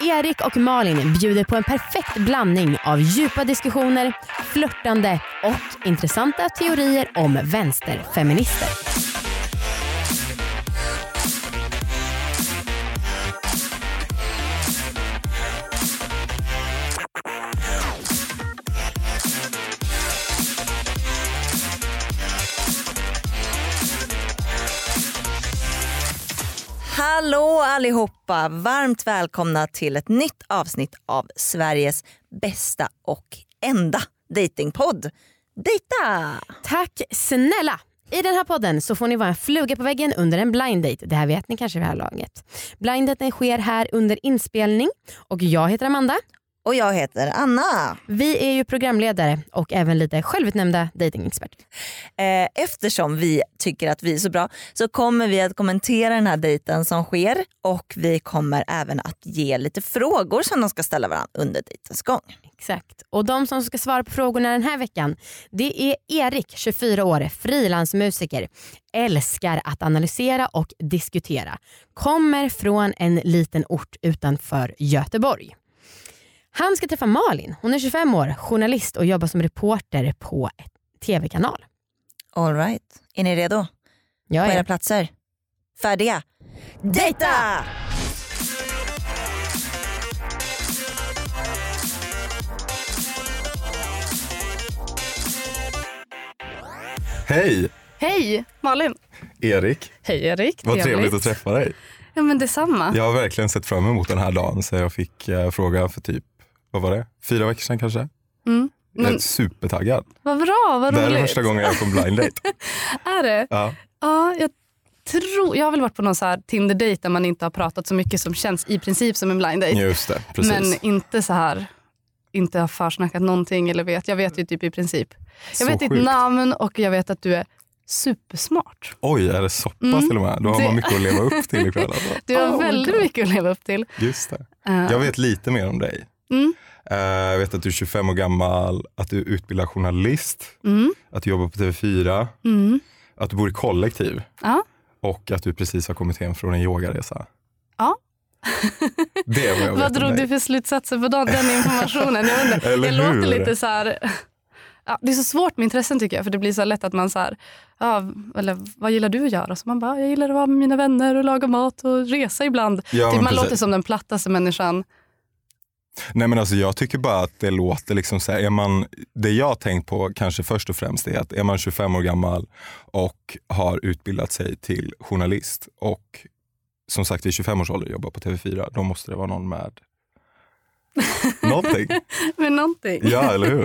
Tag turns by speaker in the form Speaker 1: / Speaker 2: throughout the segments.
Speaker 1: Erik och Malin bjuder på en perfekt blandning av djupa diskussioner, flörtande och intressanta teorier om vänsterfeminister.
Speaker 2: Hallå allihopa! Varmt välkomna till ett nytt avsnitt av Sveriges bästa och enda datingpodd. Dejta!
Speaker 1: Tack snälla! I den här podden så får ni vara en fluga på väggen under en blind date. Det här vet ni kanske vid det här laget. Blind daten sker här under inspelning och jag heter Amanda.
Speaker 2: Och jag heter Anna.
Speaker 1: Vi är ju programledare och även lite självutnämnda datingexperter.
Speaker 2: Eh, Eftersom vi tycker att vi är så bra så kommer vi att kommentera den här dejten som sker och vi kommer även att ge lite frågor som de ska ställa varandra under dejtens gång.
Speaker 1: Exakt. Och de som ska svara på frågorna den här veckan det är Erik, 24 år, frilansmusiker. Älskar att analysera och diskutera. Kommer från en liten ort utanför Göteborg. Han ska träffa Malin. Hon är 25 år, journalist och jobbar som reporter på en tv-kanal.
Speaker 2: All right. Är ni redo?
Speaker 1: Jag
Speaker 2: På
Speaker 1: är
Speaker 2: era platser? Färdiga? Dejta!
Speaker 3: Hej
Speaker 4: Hej Malin!
Speaker 3: Erik,
Speaker 4: Hej Erik!
Speaker 3: vad trevligt att träffa dig.
Speaker 4: Ja men detsamma.
Speaker 3: Jag har verkligen sett fram emot den här dagen så jag fick eh, fråga för typ, vad var det, fyra veckor sedan kanske?
Speaker 4: Mm.
Speaker 3: Jag är
Speaker 4: Men
Speaker 3: supertaggad.
Speaker 4: vad bra, vad
Speaker 3: Det här
Speaker 4: roligt.
Speaker 3: är första gången jag är på en blind date.
Speaker 4: Är det?
Speaker 3: Ja.
Speaker 4: Ja, jag tror, jag har väl varit på någon så här Tinder-dejt där man inte har pratat så mycket som känns i princip som en blind date.
Speaker 3: Just det,
Speaker 4: men
Speaker 3: precis.
Speaker 4: inte så här, inte har försnackat någonting eller vet. Jag vet ju typ i princip.
Speaker 3: Så
Speaker 4: Jag vet ditt
Speaker 3: sjukt.
Speaker 4: namn och jag vet att du är supersmart.
Speaker 3: Oj, är det så pass
Speaker 4: Mm.
Speaker 3: till och med? Då har
Speaker 4: Det-
Speaker 3: man mycket att leva upp till ikväll. Alltså.
Speaker 4: Du har väldigt mycket att leva upp till.
Speaker 3: Just det.
Speaker 4: Eh,
Speaker 3: Jag vet lite mer om dig.
Speaker 4: Mm.
Speaker 3: Eh, Jag vet att du är 25 år gammal, att du är utbildad journalist,
Speaker 4: mm,
Speaker 3: att du jobbar på TV4,
Speaker 4: mm.
Speaker 3: att du bor i kollektiv
Speaker 4: Ja.
Speaker 3: och att du precis har kommit hem från en yogaresa.
Speaker 4: Ja.
Speaker 3: Det är vad jag vet
Speaker 4: Vad
Speaker 3: om
Speaker 4: drog
Speaker 3: dig.
Speaker 4: du för slutsatser på den den informationen? Jag, undrar,
Speaker 3: Eller
Speaker 4: jag låter
Speaker 3: hur?
Speaker 4: lite så här... Ja, det är så svårt med intressen tycker jag, för det blir så lätt att man så här, ja, eller, vad gillar du att göra? Så man bara, jag gillar att vara med mina vänner och laga mat och resa ibland.
Speaker 3: Ja,
Speaker 4: typ,
Speaker 3: men
Speaker 4: man
Speaker 3: precis.
Speaker 4: låter som den plattaste människan.
Speaker 3: Nej, men alltså, jag tycker bara att det låter liksom så här, är man, det jag har tänkt på kanske först och främst är att är man 25 år gammal och har utbildat sig till journalist och som sagt i 25 års ålder jobbar på TV4, då måste det vara någon med någonting.
Speaker 4: Men någonting.
Speaker 3: Ja, eller hur?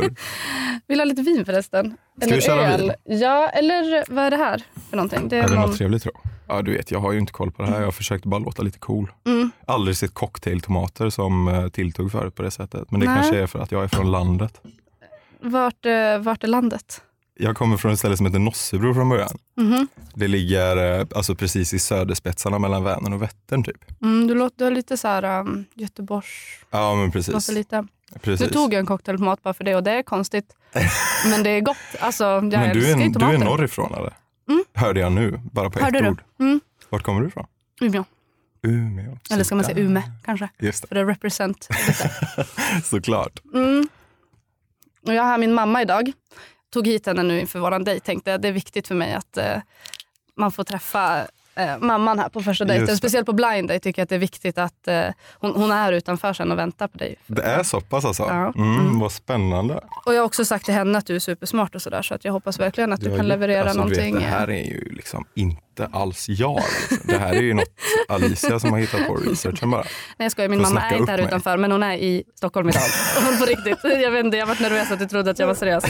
Speaker 4: Vill du ha lite vin förresten?
Speaker 3: Ska vi köra vin?
Speaker 4: Ja, eller vad är det här för någonting? Det är
Speaker 3: Är det
Speaker 4: någon-
Speaker 3: något trevligt tror jag? Ja, du vet, jag har ju inte koll på det här. Jag har försökt bara låta lite cool.
Speaker 4: Mm.
Speaker 3: Aldrig sett cocktailtomater som eh, tilltugg förut på det sättet. Men det
Speaker 4: Nej.
Speaker 3: kanske är för att jag är från landet.
Speaker 4: vart, eh, vart är landet?
Speaker 3: Jag kommer från ett ställe som heter Nossebro från början.
Speaker 4: Mhm.
Speaker 3: Det ligger eh, alltså precis i söderspetsarna mellan Vänern och Vättern typ.
Speaker 4: Mm, du, låter, du har lite så här um, Göteborgs...
Speaker 3: Ja men precis.
Speaker 4: Låter lite.
Speaker 3: precis.
Speaker 4: Nu tog jag en cocktail på mat bara för det och det är konstigt. Men det är gott. Alltså, jag
Speaker 3: men du
Speaker 4: älskar
Speaker 3: är, du
Speaker 4: ju
Speaker 3: är
Speaker 4: tomater.
Speaker 3: norrifrån eller?
Speaker 4: Mm.
Speaker 3: Hörde jag nu, bara på
Speaker 4: Hörde
Speaker 3: ett
Speaker 4: du?
Speaker 3: ord.
Speaker 4: Mm.
Speaker 3: Vart kommer du ifrån?
Speaker 4: Umeå.
Speaker 3: Umeå.
Speaker 4: Eller ska man
Speaker 3: Sådär.
Speaker 4: säga Ume kanske?
Speaker 3: Just det,
Speaker 4: För det represent.
Speaker 3: såklart.
Speaker 4: Mm. Och jag har här min mamma idag. Tog hit henne nu inför våran dejt. Tänkte att det är viktigt för mig att eh, man får träffa eh, mamman här på första
Speaker 3: Just
Speaker 4: dejten.
Speaker 3: det.
Speaker 4: Speciellt på blind date tycker jag att det är viktigt att eh, hon, hon är utanför sen och väntar på dig.
Speaker 3: Det är så pass alltså?
Speaker 4: Ja.
Speaker 3: Mm, Vad spännande.
Speaker 4: Och jag har också sagt till henne att du är supersmart och sådär så att jag hoppas verkligen att du,
Speaker 3: har
Speaker 4: kan
Speaker 3: gjort-
Speaker 4: leverera
Speaker 3: alltså, du
Speaker 4: någonting.
Speaker 3: Vet, det här är ju liksom inte alls jag. Liksom. Det här är ju något Alicia som har hittat på researchen bara.
Speaker 4: Nej jag skojar, min
Speaker 3: Får
Speaker 4: mamma
Speaker 3: snacka
Speaker 4: är inte här
Speaker 3: upp mig.
Speaker 4: utanför men hon är i Stockholm idag. Hon på riktigt. Jag vet inte, jag varit nervös att du trodde att jag var seriös.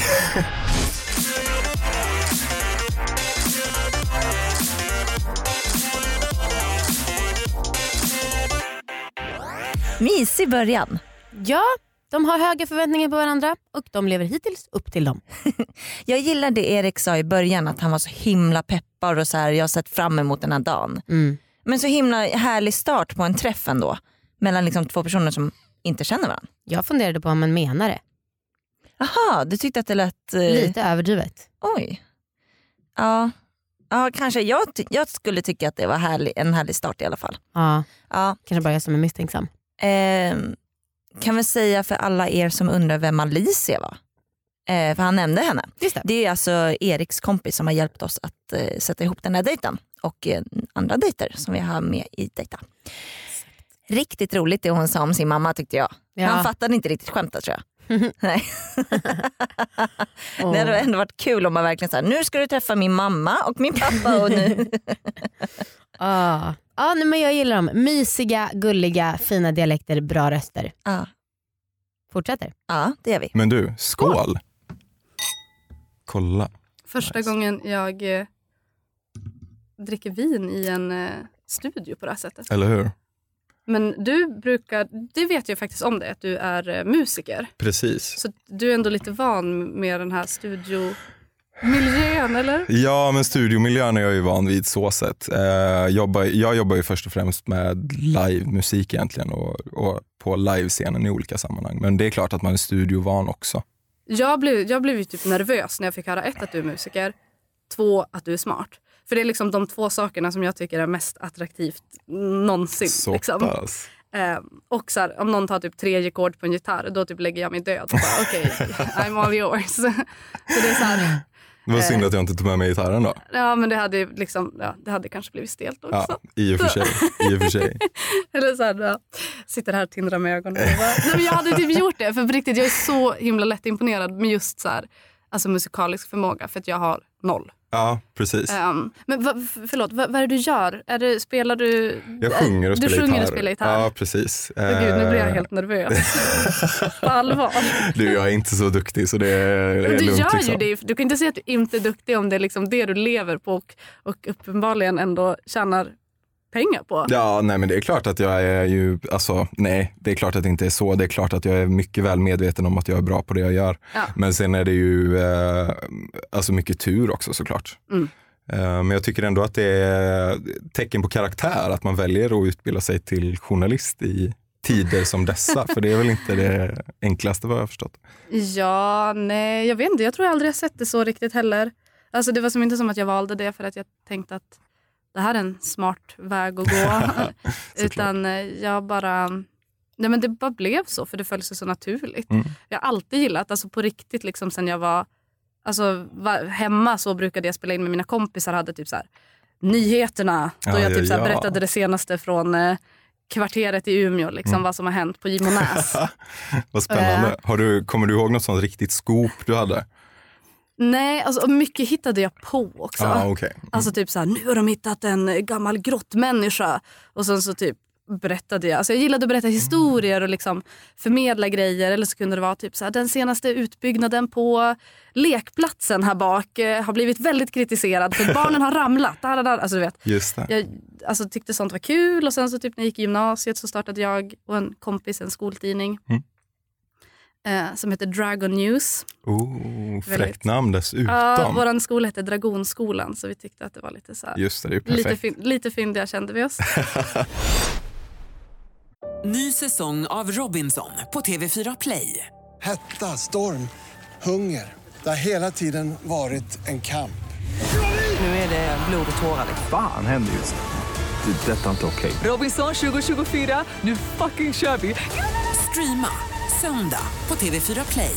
Speaker 2: Mysig början.
Speaker 1: Ja, De har höga förväntningar på varandra och de lever hittills upp till dem.
Speaker 2: Jag gillar det Erik sa i början att han var så himla peppar och så här, jag har sett fram emot den här dagen.
Speaker 1: Mm.
Speaker 2: Men så himla härlig start på en träff ändå. Mellan liksom två personer som inte känner varandra.
Speaker 1: Jag funderade på om man menar det.
Speaker 2: Mm. Jaha, du tyckte att det lät... eh,
Speaker 1: Lite överdrivet.
Speaker 2: Oj. Ja, ja kanske. Jag, ty- jag skulle tycka att det var härlig, en härlig start i alla fall.
Speaker 1: Ja,
Speaker 2: Ja.
Speaker 1: kanske bara jag som är misstänksam.
Speaker 2: Ehm, kan vi säga för alla er som undrar vem Alicia var. Eh, för han nämnde henne.
Speaker 1: Just det.
Speaker 2: Det är alltså Eriks kompis som har hjälpt oss att eh, sätta ihop den här dejten och eh, andra dejter som vi har med i dejta. Riktigt roligt det hon sa om sin mamma tyckte jag.
Speaker 1: Ja.
Speaker 2: Han fattade inte riktigt skämtet tror jag. Nej.
Speaker 1: Åh.
Speaker 2: Det hade ändå varit kul om man verkligen sa nu ska du träffa min mamma och min pappa och nu.
Speaker 1: Ja, ah. ja nej, men jag gillar dem. Mysiga, gulliga, fina dialekter, bra röster.
Speaker 2: ja.
Speaker 1: Fortsätter.
Speaker 2: ja det gör vi.
Speaker 3: Men du, skål! Kolla.
Speaker 4: Första gången jag eh, dricker vin i en eh, studio på det här sättet.
Speaker 3: Eller hur?
Speaker 4: Men du brukar, det vet jag faktiskt om dig, att du är eh, musiker.
Speaker 3: Precis.
Speaker 4: Så du är ändå lite van med den här studiomiljön, eller?
Speaker 3: Ja, men studiomiljön är jag ju van vid så sätt. Eh, jobbar, jag jobbar ju först och främst med livemusik egentligen och, och på livescenen i olika sammanhang. Men det är klart att man är studiovan också.
Speaker 4: Jag blev, jag blev ju typ nervös när jag fick höra ett, att du är musiker. Två, att du är smart. För det är liksom de två sakerna som jag tycker är mest attraktivt någonsin.
Speaker 3: Så
Speaker 4: liksom.
Speaker 3: pass.
Speaker 4: Eh, och så här, om någon tar typ tre ackord på en gitarr, då typ lägger jag mig död. och bara, Okej, I'm all yours. så det är så här,
Speaker 3: Det var
Speaker 4: Eh.
Speaker 3: synd att jag inte tog med mig gitarren då.
Speaker 4: ja men det hade ju liksom, ja, det hade kanske blivit stelt också.
Speaker 3: Ja, i och för sig. I och för sig.
Speaker 4: Eller så här, ja, sitter här och tindrar med ögonen. Och bara, nej, men jag hade typ gjort det, för på riktigt jag är så himla lätt imponerad med just så här, alltså musikalisk förmåga, för att jag har noll.
Speaker 3: Ja, precis.
Speaker 4: Ehm, men va, f- förlåt, va, vad är det du gör? Är det, spelar du?
Speaker 3: Jag sjunger och
Speaker 4: du
Speaker 3: spelar
Speaker 4: sjunger
Speaker 3: gitarr.
Speaker 4: och spelar gitarr.
Speaker 3: Ja, precis. Eh,
Speaker 4: Men gud, nu blir jag helt nervös. på allvar.
Speaker 3: Du, jag är inte så duktig så det är, är
Speaker 4: Men du
Speaker 3: lugnt.
Speaker 4: gör
Speaker 3: liksom.
Speaker 4: ju det. Du kan inte säga att du inte är duktig om det är liksom det du lever på och, och uppenbarligen ändå tjänar pengar på.
Speaker 3: Ja, nej men det är klart att jag är ju, alltså nej, det är klart att det inte är så. Det är klart att jag är mycket väl medveten om att jag är bra på det jag gör.
Speaker 4: Ja.
Speaker 3: Men sen är det ju eh, alltså mycket tur också såklart.
Speaker 4: Mm.
Speaker 3: Eh, men jag tycker ändå att det är tecken på karaktär att man väljer att utbilda sig till journalist i tider som dessa. för det är väl inte det enklaste vad jag har förstått.
Speaker 4: Ja, nej, jag vet inte. Jag tror jag aldrig har sett det så riktigt heller. Alltså det var som inte som att jag valde det för att jag tänkte att det här är en smart väg att gå. Utan eh, jag bara... Nej men det bara blev så för det föll sig så naturligt.
Speaker 3: Mm.
Speaker 4: Jag har alltid gillat, alltså på riktigt liksom sen jag var Alltså va, hemma så brukade jag spela in med mina kompisar hade typ så här nyheterna. Då
Speaker 3: Ja,
Speaker 4: jag
Speaker 3: ja,
Speaker 4: typ så här
Speaker 3: ja.
Speaker 4: berättade det senaste från eh, kvarteret i Umeå, liksom,
Speaker 3: Mm.
Speaker 4: vad som har hänt på Gimonäs.
Speaker 3: Vad
Speaker 4: Eh.
Speaker 3: spännande. Har du, kommer du ihåg något sånt riktigt scoop du hade?
Speaker 4: Nej, alltså och mycket hittade jag på också.
Speaker 3: ah, okej.
Speaker 4: Alltså typ så här, nu har de hittat en gammal grottmänniska. Och sen så typ berättade jag. Alltså jag gillade att berätta
Speaker 3: Mm.
Speaker 4: historier och liksom förmedla grejer. Eller så kunde det vara typ så här, den senaste utbyggnaden på lekplatsen här bak eh, har blivit väldigt kritiserad för barnen har ramlat. Där, där, där. Alltså du vet,
Speaker 3: Just det.
Speaker 4: jag alltså, tyckte sånt var kul och sen så typ när jag gick i gymnasiet så startade jag och en kompis en skoltidning.
Speaker 3: Mm.
Speaker 4: Eh, som heter Dragon News.
Speaker 3: Oh, fräckt namn dessutom.
Speaker 4: Ja, vår skola hette Dragonskolan så vi tyckte att det var lite så här,
Speaker 3: Just det, det är ju perfekt.
Speaker 4: lite, fin- lite fyndiga kände vi oss.
Speaker 5: Ny säsong av Robinson på TV4 Play.
Speaker 6: Hetta, storm, hunger. Det har hela tiden varit en kamp.
Speaker 5: Nu är det blod och tårar.
Speaker 7: Fan händer just det. Det är detta inte okej.
Speaker 5: Robinson 2024, nu fucking kör vi! Streama söndag på TV4 Play.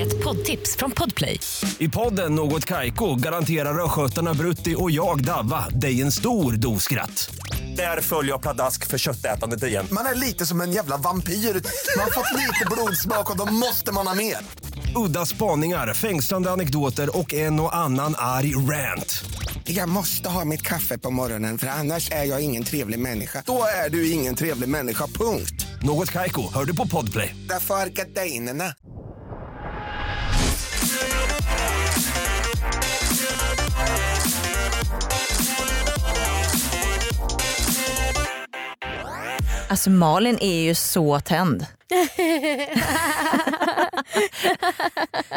Speaker 8: Ett poddtips från Podplay.
Speaker 9: I podden Något Kaiko garanterar östgötarna Brutti och jag, Davva, dig en stor dos skratt. Där följer jag pladask för köttätandet igen.
Speaker 10: Man är lite som en jävla vampyr. Man har fått lite blodsmak och då måste man ha mer.
Speaker 9: Udda spaningar, fängslande anekdoter och en och annan arg rant.
Speaker 10: Jag måste ha mitt kaffe på morgonen för annars är jag ingen trevlig människa. Då är du ingen trevlig människa, punkt.
Speaker 9: Något Kaiko, hör du på Podplay.
Speaker 10: Därför är gardinerna.
Speaker 2: Alltså Malin är ju så tänd.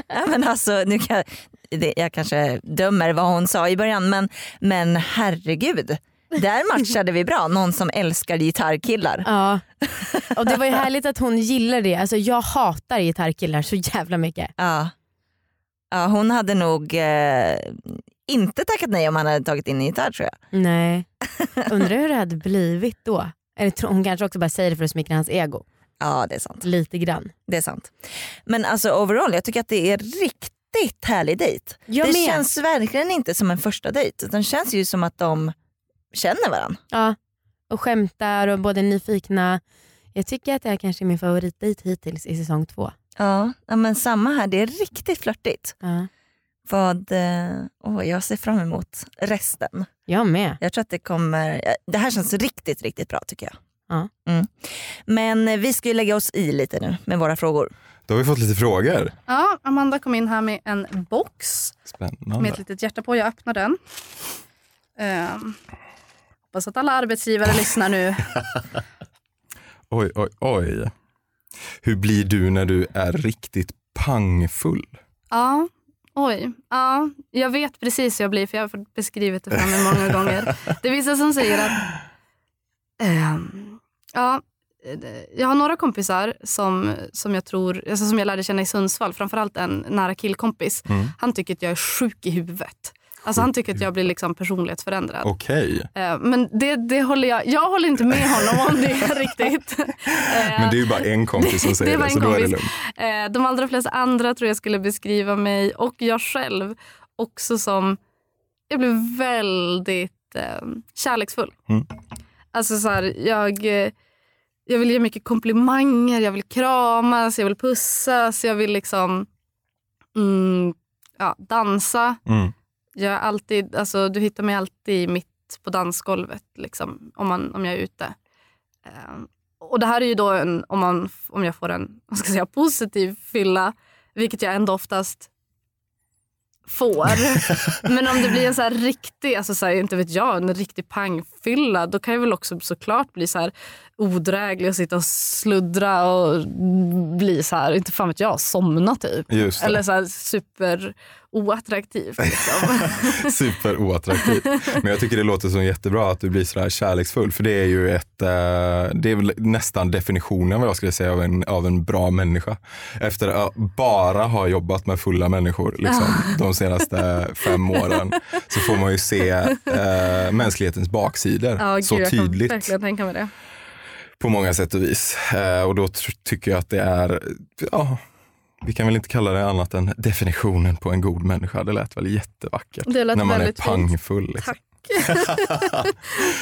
Speaker 2: Ja, men alltså, nu kan, det, jag kanske dömer vad hon sa i början men, men herregud. Där matchade vi bra, någon som älskar gitarrkillar.
Speaker 1: Ja. Och det var ju härligt att hon gillar det. Alltså jag hatar gitarrkillar så jävla mycket.
Speaker 2: Ja. Ja, hon hade nog eh, inte tackat nej om han hade tagit in en gitarr tror jag.
Speaker 1: Nej. Undrar hur det hade blivit då. Eller tror- hon kanske också bara säger det för att smickra hans ego.
Speaker 2: Ja det är sant.
Speaker 1: Lite grann.
Speaker 2: Det är sant. Men alltså overall jag tycker att det är riktigt härlig dejt.
Speaker 1: Jag
Speaker 2: det
Speaker 1: med.
Speaker 2: känns verkligen inte som en första dejt utan det känns ju som att de känner varandra.
Speaker 1: Ja. Och skämtar och båda är nyfikna. Jag tycker att det här kanske är min favoritdejt hittills i säsong två.
Speaker 2: Ja, ja men samma här, det är riktigt flörtigt.
Speaker 1: Ja.
Speaker 2: Vad, eh, åh, jag ser fram emot resten.
Speaker 1: Jag med.
Speaker 2: Jag tror att det kommer, ja, det här känns riktigt riktigt bra tycker jag.
Speaker 1: Ja.
Speaker 2: Mm. Men eh, vi ska ju lägga oss i lite nu med våra frågor.
Speaker 3: Då har vi fått lite frågor.
Speaker 4: Ja, Amanda kom in här med en box med
Speaker 3: Spännande.
Speaker 4: ett litet hjärta på. Jag öppnar den. Ehm, hoppas att alla arbetsgivare lyssnar nu.
Speaker 3: Oj, oj, oj. Hur blir du när du är riktigt pangfull?
Speaker 4: Ja, oj. Ja, jag vet precis hur jag blir för jag har fått beskrivet det för mig många gånger. Det är vissa som säger att... ehm, ja, eh, jag har några kompisar som, som jag tror, alltså som jag lärde känna i Sundsvall, framförallt en nära killkompis.
Speaker 3: Mm.
Speaker 4: Han tycker att jag är sjuk i huvudet. Alltså han tycker att jag blir liksom personlighetsförändrad.
Speaker 3: Okej,
Speaker 4: Eh, Men det, det håller jag, jag håller inte med honom om det riktigt. Eh,
Speaker 3: men det är ju bara en kompis som säger
Speaker 4: Det
Speaker 3: det,
Speaker 4: var en
Speaker 3: så då är det
Speaker 4: kompis.
Speaker 3: lugnt.
Speaker 4: Eh, De allra flesta andra tror jag skulle beskriva mig och jag själv också som... Jag blev väldigt eh, kärleksfull.
Speaker 3: Mm.
Speaker 4: Alltså så här, jag, eh, jag vill ge mycket komplimanger, jag vill kramas, jag vill pussas, jag vill liksom mm, ja, dansa.
Speaker 3: Mm.
Speaker 4: Jag är alltid, alltså, du hittar mig alltid mitt på dansgolvet liksom, om, man, om jag är ute. Ehm, och det här är ju då en, om, man, om jag får en vad ska jag säga, positiv fylla, vilket jag ändå oftast får. Men om det blir en så här riktig, alltså så här, inte vet jag, en riktig pangfylla, då kan jag väl också såklart bli så här odräglig och sitta och sluddra och bli så här, inte fan vet jag, somna typ.
Speaker 3: Just det.
Speaker 4: Eller så här super liksom. oattraktiv.
Speaker 3: Super oattraktivt. Men jag tycker det låter som jättebra att du blir sådär kärleksfull. För det är ju ett, eh, det är väl nästan definitionen vad jag skulle säga av en, av en bra människa. Efter att bara ha jobbat med fulla människor liksom, de senaste fem åren så får man ju se eh, mänsklighetens baksidor
Speaker 4: Ja,
Speaker 3: så
Speaker 4: gud, jag kan
Speaker 3: tydligt
Speaker 4: verkligen tänka mig det.
Speaker 3: på många sätt och vis. Eh, och då tr- tycker jag att det är, ja, vi kan väl inte kalla det annat än definitionen på en god människa. Det lät väl jättevackert.
Speaker 4: Det lät
Speaker 3: när man är
Speaker 4: väldigt fint.
Speaker 3: pangfull. Liksom.
Speaker 4: Tack.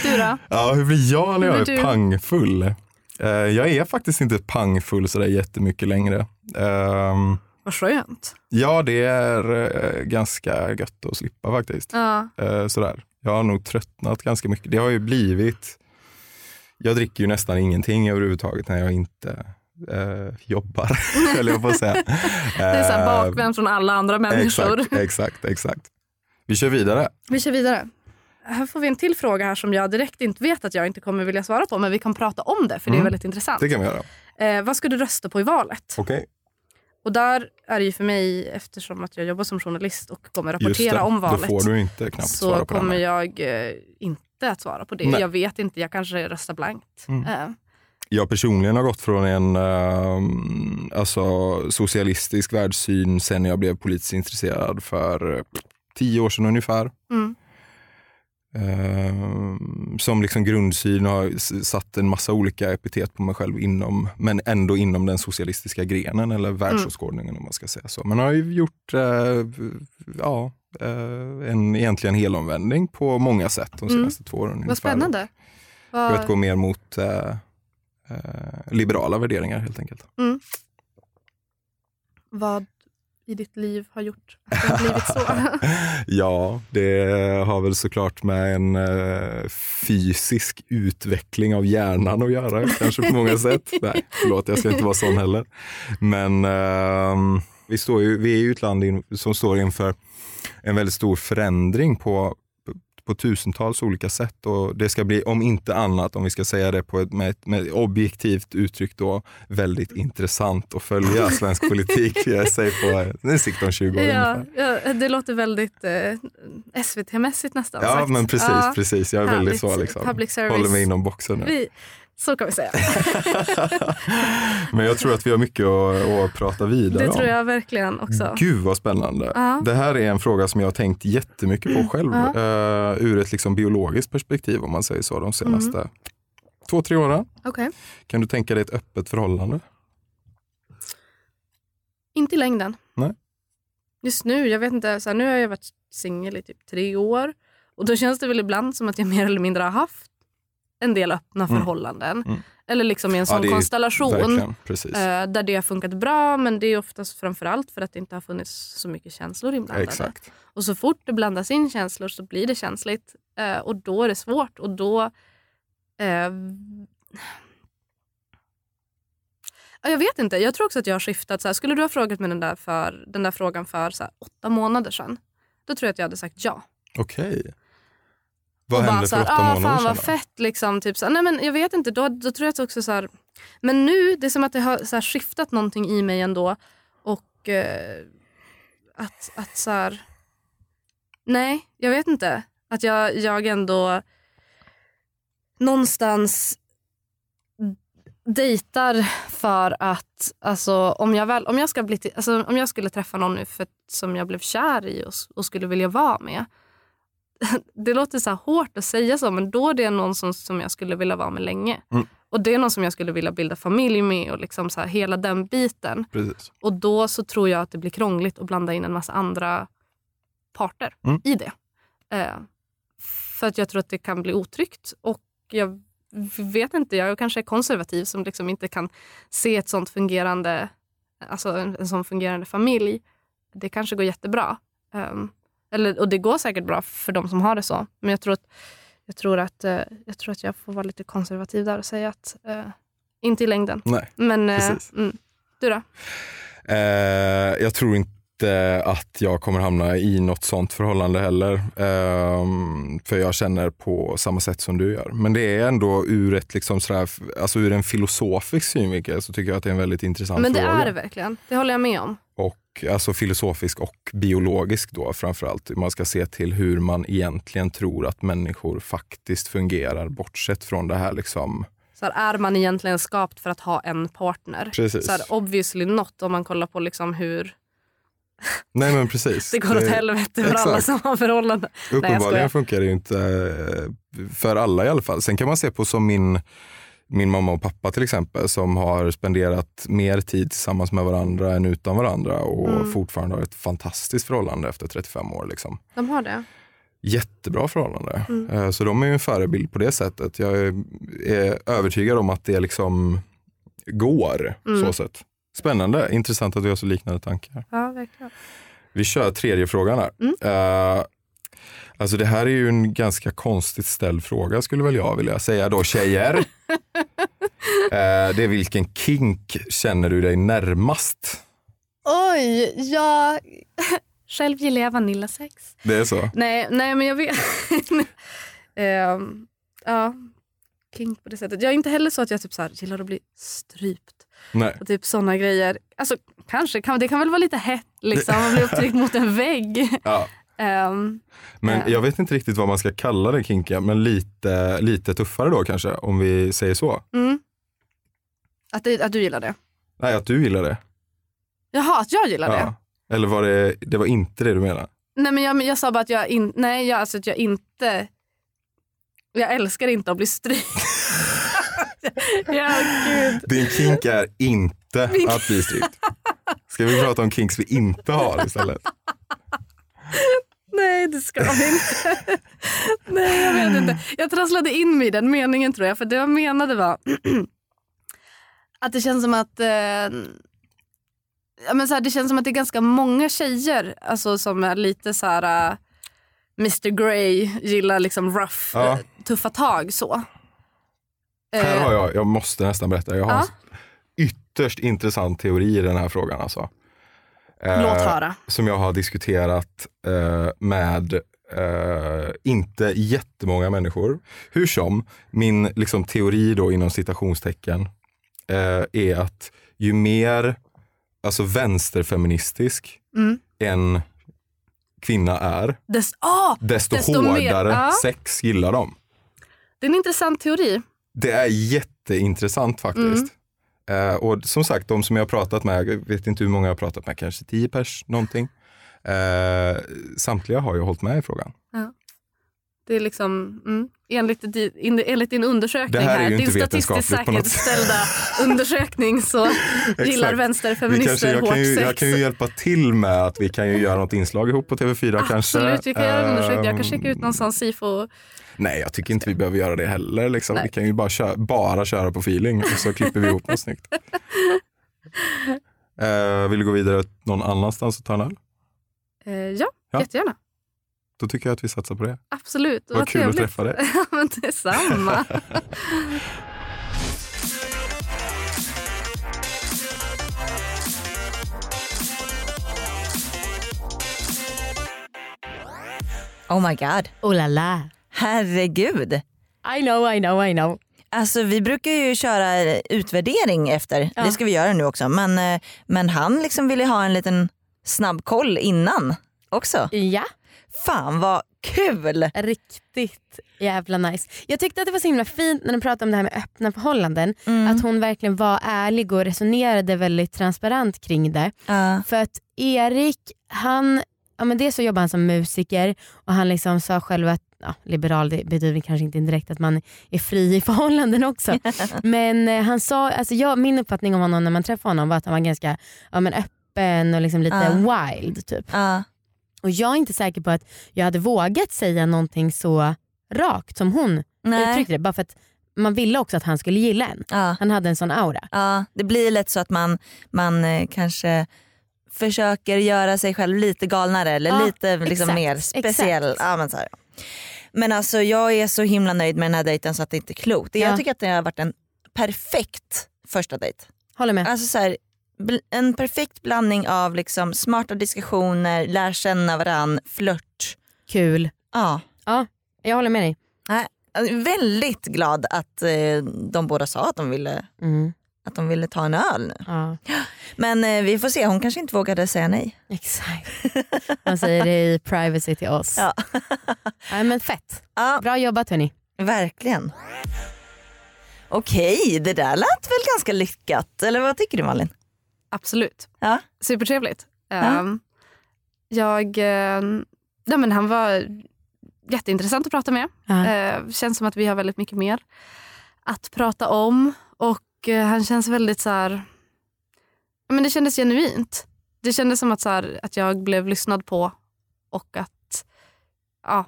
Speaker 4: Du då?
Speaker 3: Ja, hur blir jag när
Speaker 4: Hur
Speaker 3: jag är
Speaker 4: blir du?
Speaker 3: pangfull? Eh, jag är faktiskt inte pangfull sådär jättemycket längre. Ehm,
Speaker 4: Vad skönt.
Speaker 3: ja, det är eh, ganska gött att slippa faktiskt.
Speaker 4: Ja.
Speaker 3: Eh, sådär. Jag har nog tröttnat ganska mycket. Det har ju blivit... Jag dricker ju nästan ingenting överhuvudtaget när jag inte eh, jobbar, höll jag på att säga. det
Speaker 4: Det är så här bakvänt från alla andra
Speaker 3: Ehm,
Speaker 4: människor.
Speaker 3: Exakt, exakt, exakt. Vi kör vidare.
Speaker 4: Vi kör vidare. Här får vi en till fråga här som jag direkt inte vet att jag inte kommer vilja svara på men vi kan prata om det för det är
Speaker 3: Mm.
Speaker 4: väldigt intressant.
Speaker 3: Det kan vi göra.
Speaker 4: Eh, vad ska du rösta på i valet?
Speaker 3: Okej.
Speaker 4: Och där är det ju för mig, eftersom att jag jobbar som journalist och kommer
Speaker 3: Just det.
Speaker 4: rapportera om
Speaker 3: Då
Speaker 4: valet,
Speaker 3: får du inte knappt svara
Speaker 4: så
Speaker 3: på den här.
Speaker 4: kommer jag eh, inte att svara på det.
Speaker 3: Nej. Mm.
Speaker 4: Jag vet inte, jag kanske röstar blankt. Eh,
Speaker 3: jag personligen har gått från en ehm, alltså, socialistisk världssyn sen jag blev politiskt intresserad för eh, tio år sedan ungefär.
Speaker 4: Mm.
Speaker 3: Ehm, som liksom grundsyn har s- satt en massa olika epitet på mig själv inom, men ändå inom den socialistiska grenen eller
Speaker 4: Mm.
Speaker 3: världsåskådningen om man ska säga så. Men har ju gjort eh, ja, eh, en egentligen helomvändning på många sätt de
Speaker 4: Mm.
Speaker 3: senaste två åren. ungefär.
Speaker 4: Vad spännande. Vad-
Speaker 3: För att gå mer mot eh, eh, liberala värderingar helt enkelt.
Speaker 4: vad i ditt liv har gjort att det har blivit så.
Speaker 3: ja, det har väl såklart med en eh, fysisk utveckling av hjärnan att göra kanske på många sätt. Nej, förlåt jag ska inte vara sån heller. Men ehm, vi, står ju, vi är ju ett land in, som står inför en väldigt stor förändring på på tusentals olika sätt och det ska bli, om inte annat, om vi ska säga det på ett, med ett med ett objektivt uttryck då, väldigt intressant att följa svensk politik. Jag säger på en sikt om 20 år
Speaker 4: Ja,
Speaker 3: ungefär.
Speaker 4: ja, det låter väldigt eh, SVT-mässigt nästan.
Speaker 3: Ja
Speaker 4: sagt.
Speaker 3: men precis,
Speaker 4: Ja,
Speaker 3: precis. jag är väldigt så
Speaker 4: härligt.
Speaker 3: liksom.
Speaker 4: Public service.
Speaker 3: Håller mig inom boxen nu.
Speaker 4: Vi, så kan vi säga.
Speaker 3: Men jag tror att vi har mycket att, att prata vidare
Speaker 4: Det
Speaker 3: om.
Speaker 4: tror jag verkligen också.
Speaker 3: Gud vad spännande.
Speaker 4: Ja.
Speaker 3: Det här är en fråga som jag har tänkt jättemycket på själv. eh, ur ett liksom biologiskt perspektiv om man säger så de senaste två, tre åren.
Speaker 4: Okej.
Speaker 3: Kan du tänka dig ett öppet förhållande?
Speaker 4: Inte i längden.
Speaker 3: Nej.
Speaker 4: Just nu, jag vet inte, så här, nu har jag varit singel i typ tre år och då känns det väl ibland som att jag mer eller mindre har haft en del öppna förhållanden.
Speaker 3: Mm.
Speaker 4: Eller liksom i en
Speaker 3: Ja,
Speaker 4: sån
Speaker 3: det är ju
Speaker 4: konstellation
Speaker 3: Verkligen, precis.
Speaker 4: eh, där det har funkat bra men det är oftast framförallt för att det inte har funnits så mycket känslor inblandade.
Speaker 3: Exakt.
Speaker 4: Och så fort det blandas in känslor så blir det känsligt eh, och då är det svårt och då... Eh, ja, jag vet inte, jag tror också att jag har skiftat. Så här, skulle du ha frågat mig den där, för, den där frågan för så här, åtta månader sedan, då tror jag att jag hade sagt ja.
Speaker 3: Okej. Vad
Speaker 4: och
Speaker 3: hände
Speaker 4: så
Speaker 3: för
Speaker 4: här,
Speaker 3: åtta
Speaker 4: "Ah,
Speaker 3: månader
Speaker 4: fan vad
Speaker 3: sedan?
Speaker 4: fett liksom. Typ, så här, nej, men jag vet inte, då, då tror jag att också så här, Men nu, det är som att det har så här, skiftat någonting i mig ändå. Och eh, att, att så här, Nej, jag vet inte. Att jag, jag ändå någonstans dejtar för att alltså, om, jag väl, om, jag ska bli, till- alltså, om jag skulle träffa någon nu för, som jag blev kär i och, s- och skulle vilja vara med det låter så här hårt att säga så, men då är det någon som, som jag skulle vilja vara med länge.
Speaker 3: Mm.
Speaker 4: Och det är någon som jag skulle vilja bilda familj med och liksom så här, hela den biten.
Speaker 3: Precis.
Speaker 4: Och då så tror jag att det blir krångligt att blanda in en massa andra parter
Speaker 3: Mm.
Speaker 4: i det. Eh, för att jag tror att det kan bli otryggt. Och jag vet inte, jag kanske är konservativ som liksom inte kan se ett sånt fungerande, alltså en, en sån fungerande familj. Det kanske går jättebra. Eh, eller, och det går säkert bra för de som har det så. Men jag tror att jag, tror att, eh, jag, tror att jag får vara lite konservativ där och säga att eh, inte i längden.
Speaker 3: Nej.
Speaker 4: Men eh,
Speaker 3: Precis.
Speaker 4: mm. du då?
Speaker 3: Eh, jag tror inte att jag kommer hamna i något sånt förhållande heller. Ehm, för jag känner på samma sätt som du gör. Men det är ändå ur, ett liksom sådär, alltså ur en filosofisk synvinkel så tycker jag att det är en väldigt intressant
Speaker 4: Men det
Speaker 3: fråga.
Speaker 4: är det verkligen. Det håller jag med om.
Speaker 3: och alltså filosofisk och biologisk då framförallt. Man ska se till hur man egentligen tror att människor faktiskt fungerar bortsett från det här liksom.
Speaker 4: Så här, är man egentligen skapt för att ha en partner?
Speaker 3: Precis.
Speaker 4: Så här, obviously not om man kollar på liksom hur
Speaker 3: Nej men precis.
Speaker 4: det går åt helvete för alla
Speaker 3: exakt.
Speaker 4: som har förhållanden. Nej, jag skojar.
Speaker 3: Uppenbarligen funkar det ju inte eh, för alla i alla fall. Sen kan man se på som min, min mamma och pappa till exempel som har spenderat mer tid tillsammans med varandra än utan varandra och
Speaker 4: Mm.
Speaker 3: fortfarande har ett fantastiskt förhållande efter 35 år. Liksom.
Speaker 4: De har det.
Speaker 3: jättebra förhållande.
Speaker 4: Mm.
Speaker 3: Eh, Så de är ju en förebild på det sättet. Jag är- är övertygad om att det liksom går.
Speaker 4: Mm.
Speaker 3: så sätt. Spännande, intressant att vi har så liknande tankar.
Speaker 4: Ja, verkligen.
Speaker 3: Vi kör tredje frågan här. Eh, alltså det här är ju en ganska konstigt ställd fråga skulle väl jag vilja säga då tjejer. Eh, det är vilken kink känner du dig närmast?
Speaker 4: Oj, jag... Själv gillar jag vanillasex.
Speaker 3: Det är så?
Speaker 4: Nej, nej men jag vet... Ehm, ja, kink på det sättet. Jag är inte heller så att jag typ så här, gillar att bli strypt.
Speaker 3: Nej.
Speaker 4: Och typ såna grejer. Alltså kanske, kan, det kan väl vara lite hett liksom att bli upptryckt mot en vägg.
Speaker 3: Ja.
Speaker 4: Ehm,
Speaker 3: Men
Speaker 4: Eh.
Speaker 3: jag vet inte riktigt vad man ska kalla den kinkiga, men lite, lite tuffare då kanske, om vi säger så.
Speaker 4: mm. att, det, att du gillar det?
Speaker 3: Nej, att du gillar det.
Speaker 4: Jaha, att jag gillar det?
Speaker 3: Ja. Eller var det, det var inte det du menade?
Speaker 4: Nej men jag, men jag sa bara att jag, in, nej, jag, alltså, att jag inte... Jag älskar inte att bli strypt. ja, gud.
Speaker 3: Din kink är inte att bli strypt. Ska vi prata om kinks vi inte har istället?
Speaker 4: Nej, det ska vi inte. Nej, jag vet inte. Jag trasslade in mig i den meningen tror jag. För det jag menade var att det känns som att eh, ja, men så här, det känns som att det är ganska många tjejer alltså, som är lite så här eh, Mr Grey, gillar liksom rough,
Speaker 3: Ja.
Speaker 4: eh, tuffa tag så.
Speaker 3: Här
Speaker 4: Eh,
Speaker 3: har jag, jag måste nästan berätta, jag har en ytterst intressant teori i den här frågan. Alltså. Eh,
Speaker 4: Låt höra.
Speaker 3: Som jag har diskuterat eh, med eh, inte jättemånga människor. Hur som, min liksom, teori då inom citationstecken eh, är att ju mer alltså, vänsterfeministisk
Speaker 4: Mm.
Speaker 3: en kvinna är,
Speaker 4: Des, ah,
Speaker 3: desto,
Speaker 4: Desto mer,
Speaker 3: hårdare
Speaker 4: ja.
Speaker 3: sex gillar de.
Speaker 4: det är en intressant teori.
Speaker 3: Det är jätteintressant faktiskt. Eh, och som sagt, de som jag har pratat med, jag vet inte hur många jag har pratat med, kanske tio pers någonting. Eh, samtliga har ju hållit med i frågan.
Speaker 4: Det är liksom, mm, enligt, di, in, enligt din undersökning
Speaker 3: Det här är ju
Speaker 4: din
Speaker 3: inte
Speaker 4: statistiskt
Speaker 3: vetenskapligt på något sätt.
Speaker 4: säkerställda undersökning så gillar
Speaker 3: Exakt. Vi kanske,
Speaker 4: vänsterfeminister
Speaker 3: jag,
Speaker 4: hårt
Speaker 3: kan ju,
Speaker 4: sex.
Speaker 3: jag kan ju hjälpa till med att vi kan ju göra något inslag ihop på TV4 kanske.
Speaker 4: Absolut, vi kan göra en undersökning. Jag kan
Speaker 3: Ehm,
Speaker 4: checka ut någon sån sifo.
Speaker 3: Nej, jag tycker inte vi behöver göra det heller. Liksom.
Speaker 4: Nej.
Speaker 3: Vi kan ju bara köra, bara köra på feeling och så klipper vi ihop något snyggt. Eh, vill du gå vidare någon annanstans och ta en öl?
Speaker 4: Eh, ja,
Speaker 3: Ja.
Speaker 4: jättegärna.
Speaker 3: Då tycker jag att vi satsar på det.
Speaker 4: Absolut.
Speaker 3: Vad kul att träffa dig.
Speaker 4: Ja, men detsamma.
Speaker 2: Oh my god.
Speaker 1: Oh la la.
Speaker 2: Herregud.
Speaker 1: I know, I know, I know.
Speaker 2: Alltså vi brukar ju köra eh, utvärdering efter. Det ska vi göra nu också. Men, eh, men han liksom ville ha en liten snabb koll innan också.
Speaker 1: Ja,
Speaker 2: Fan vad kul!
Speaker 1: riktigt jävla nice. Jag tyckte att det var så himla fint när de pratade om det här med öppna förhållanden.
Speaker 2: Mm.
Speaker 1: Att hon verkligen var ärlig och resonerade väldigt transparent kring det.
Speaker 2: Ja.
Speaker 1: För att Erik, han, ja men dels så jobbar han som musiker och han liksom sa själv att Ja, liberal det betyder kanske inte direkt att man är fri i förhållanden också. Men eh, han sa, alltså jag, min uppfattning om honom när man träffade honom var att han var ganska ja, men öppen och liksom lite
Speaker 2: Ja.
Speaker 1: wild. Typ.
Speaker 2: Ja.
Speaker 1: Och jag är inte säker på att jag hade vågat säga någonting så rakt som hon
Speaker 2: Nej.
Speaker 1: uttryckte det. Bara för att man ville också att han skulle gilla en.
Speaker 2: Ja.
Speaker 1: Han hade en sån aura.
Speaker 2: Ja, det blir lätt så att man, man eh, kanske försöker göra sig själv lite galnare eller
Speaker 1: Ja,
Speaker 2: lite liksom,
Speaker 1: exakt,
Speaker 2: mer speciell.
Speaker 1: exakt.
Speaker 2: Ja, men, så här. men alltså jag är så himla nöjd med den här dejten så att det inte är klokt.
Speaker 1: Ja.
Speaker 2: Jag tycker att det har varit en perfekt första dejt.
Speaker 1: Håller med.
Speaker 2: Alltså så här, bl- en perfekt blandning av liksom smarta diskussioner, lär känna varann, flört.
Speaker 1: Kul.
Speaker 2: Ja.
Speaker 1: Jag håller med dig.
Speaker 2: Nej, jag är väldigt glad att eh, de båda sa att de ville
Speaker 1: Mm.
Speaker 2: att de ville ta en öl nu.
Speaker 1: Ja.
Speaker 2: Men eh, vi får se, hon kanske inte vågade säga nej.
Speaker 1: Exakt. Man säger det i privacy till oss.
Speaker 2: Ja.
Speaker 1: Nej, men fett.
Speaker 2: Ja.
Speaker 1: Bra jobbat hörni.
Speaker 2: Verkligen. Okej, det där lät väl ganska lyckat. Eller vad tycker du Malin?
Speaker 4: Absolut.
Speaker 2: Ja.
Speaker 4: Supertrevligt.
Speaker 2: Ja.
Speaker 4: Ehm, jag, eh, nej, men han var jätteintressant att prata med.
Speaker 1: Ja.
Speaker 4: Eh, känns som att vi har väldigt mycket mer att prata om. Och eh, han känns väldigt så här... ja, Men det kändes genuint. Det kändes som att, så här, att jag blev lyssnad på och att ja,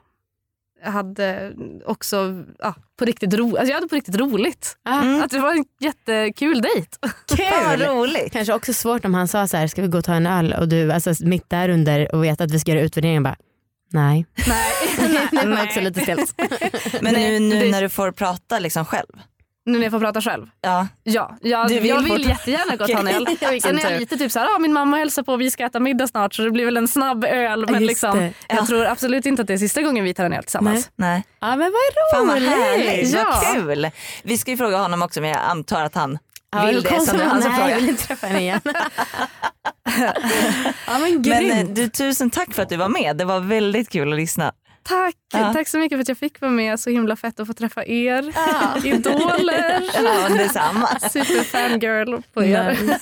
Speaker 4: jag hade också ja, på, riktigt ro, alltså jag hade på riktigt roligt.
Speaker 2: Mm.
Speaker 4: Att det var en jättekul dejt.
Speaker 2: Vad roligt.
Speaker 1: Kanske också svårt om han sa så här, ska vi gå och ta en öl och du alltså, mitt där under och vet att vi ska göra utvärderingen bara nej.
Speaker 4: Nej,
Speaker 1: Det var också lite stelt.
Speaker 2: Men nu,
Speaker 4: det-
Speaker 2: nu när du får prata liksom själv.
Speaker 4: Nu när jag får prata själv.
Speaker 2: Ja,
Speaker 1: Mm.
Speaker 4: Ja, jag
Speaker 2: Du
Speaker 4: vill,
Speaker 2: vill
Speaker 4: jag
Speaker 2: fort-
Speaker 4: vill jättegärna gå och ta en öl.
Speaker 2: Okej.
Speaker 4: Sen
Speaker 2: Vilken
Speaker 4: är jag
Speaker 2: tur.
Speaker 4: lite typ så här, ah, min mamma hälsar på vi ska äta middag snart så det blir väl en snabb öl. Men
Speaker 1: just
Speaker 4: liksom,
Speaker 1: det.
Speaker 4: jag tror absolut inte att det är sista gången vi tar en öl tillsammans.
Speaker 2: nej.
Speaker 1: ja men vad
Speaker 2: Fan vad
Speaker 1: roligt.
Speaker 2: härligt,
Speaker 4: Ja.
Speaker 2: vad kul. Vi ska ju fråga honom också men jag antar att han
Speaker 1: Ja,
Speaker 2: vill det. Så nu är han som alltså
Speaker 1: nej, jag vill
Speaker 2: frågar.
Speaker 1: inte träffa henne igen. ja men
Speaker 2: Men eh,
Speaker 1: grymt.
Speaker 2: du, tusen tack för att du var med. Det var väldigt kul att lyssna.
Speaker 4: Tack!
Speaker 2: Ja.
Speaker 4: Tack så mycket för att jag fick vara med. Så himla fett att få träffa er. Idoler.
Speaker 2: Ja, detsamma.
Speaker 4: Superfangirl på er.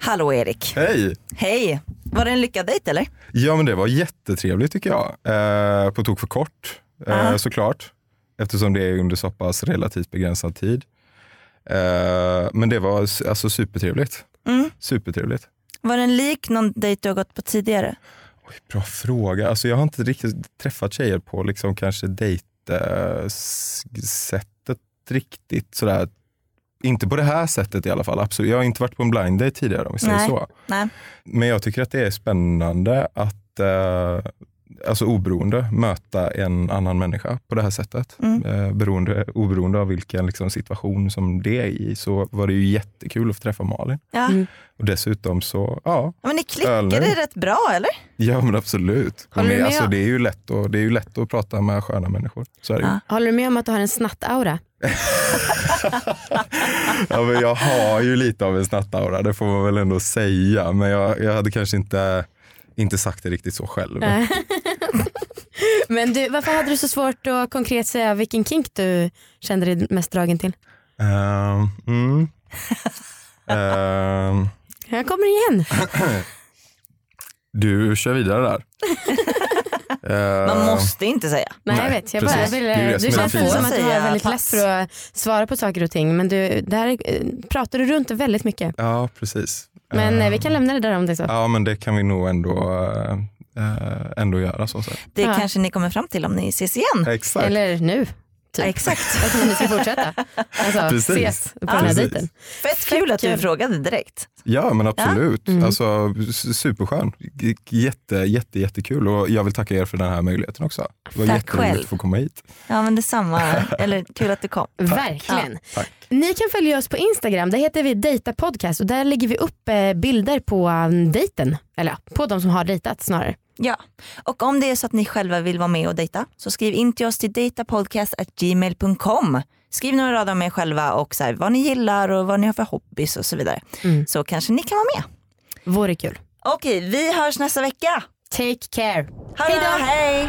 Speaker 2: Hallå Erik.
Speaker 3: Hej!
Speaker 2: Hej. Var det en lyckad dejt eller?
Speaker 3: Ja men det var jättetrevligt tycker jag. Eh, på tok för kort eh,
Speaker 2: Ja.
Speaker 3: såklart. Eftersom det är under så pass relativt begränsad tid. Eh, men det var s- alltså supertrevligt.
Speaker 2: Mm.
Speaker 3: Supertrevligt.
Speaker 2: Var den lik någon dejt du har gått på tidigare?
Speaker 3: Oj, bra fråga. Alltså, jag har inte riktigt träffat tjejer på liksom, kanske dejtsättet riktigt. Sådär. Inte på det här sättet i alla fall. Absolut. Jag har inte varit på en blind date tidigare om vi säger
Speaker 2: Nej.
Speaker 3: så.
Speaker 2: Nej.
Speaker 3: Men jag tycker att det är spännande att eh, alltså oberoende möta en annan människa på det här sättet.
Speaker 2: Mm.
Speaker 3: Eh, beroende, oberoende av vilken liksom, situation som det är i så var det ju jättekul att få träffa Malin.
Speaker 2: Ja.
Speaker 1: Mm.
Speaker 3: Och dessutom så, ja,
Speaker 2: Ja, men ni
Speaker 3: Öl nu.
Speaker 2: klickade rätt bra eller?
Speaker 3: ja men absolut. Hon
Speaker 1: Håller du
Speaker 3: är,
Speaker 1: med?
Speaker 3: alltså, det, är ju lätt att, det är ju lätt att prata med sköna människor. Så är det ju.
Speaker 2: Ja.
Speaker 1: Håller du med om att du har en snattaura?
Speaker 3: Ja, men jag har ju lite av en snattaura, det får man väl ändå säga. Men jag, jag hade kanske inte, inte sagt det riktigt så själv.
Speaker 1: Nej. Men du, varför hade du så svårt att konkret säga vilken kink du kände dig mest dragen till?
Speaker 3: Ehm, mm. Ehm,
Speaker 1: Jag kommer igen.
Speaker 3: du kör vidare där. Ehm,
Speaker 2: Man måste inte säga.
Speaker 1: Nej, jag
Speaker 3: Nej,
Speaker 1: vet. Jag bara, jag
Speaker 3: precis. Det är ju
Speaker 1: ville,
Speaker 3: det
Speaker 1: du
Speaker 3: som är
Speaker 1: känns
Speaker 3: det
Speaker 1: väl
Speaker 3: fina.
Speaker 1: som att du har
Speaker 2: Säga
Speaker 1: väldigt lätt
Speaker 2: pass.
Speaker 1: för att svara på saker och ting men du, där eh, pratar du runt väldigt mycket.
Speaker 3: Ja, precis.
Speaker 1: Men eh,
Speaker 3: Ehm,
Speaker 1: vi kan lämna det där om det är så.
Speaker 3: Ja, men det kan vi nog ändå, eh, eh, ändå göra. så sätt.
Speaker 2: Det
Speaker 1: Ja.
Speaker 2: kanske ni kommer fram till om ni ses igen.
Speaker 3: Exakt.
Speaker 1: Eller nu.
Speaker 2: Ja,
Speaker 1: Typ.
Speaker 2: exakt.
Speaker 1: Att ni ska fortsätta. Alltså
Speaker 3: Precis.
Speaker 1: ses på den här
Speaker 3: Precis.
Speaker 1: dejten.
Speaker 2: Fett kul att du
Speaker 1: kul.
Speaker 2: frågade direkt.
Speaker 3: Ja men absolut.
Speaker 1: Ja. Mm.
Speaker 3: Alltså, s- superskön. J- Jätte, jätte, jättekul och jag vill tacka er för den här möjligheten också. Det var
Speaker 2: Tack
Speaker 3: jätteroligt
Speaker 2: själv.
Speaker 3: att få komma hit.
Speaker 2: Ja men detsamma. Eller kul att du kom.
Speaker 1: Verkligen.
Speaker 3: Tack.
Speaker 1: Ni kan följa oss på Instagram, där heter vi Dejta Podcast och där lägger vi upp eh, bilder på eh, dejten. Eller ja, på de som har dejtat snarare.
Speaker 2: Ja, och om det är så att ni själva vill vara med och dejta så skriv in till oss till datapodcast.gmail.com. Skriv några rader om er själva och så här, vad ni gillar och vad ni har för hobbys och så vidare.
Speaker 1: Mm.
Speaker 2: Så kanske ni kan vara med.
Speaker 1: Vore kul.
Speaker 2: Okej, vi hörs nästa vecka.
Speaker 1: Take care.
Speaker 2: Ha det bra, hej!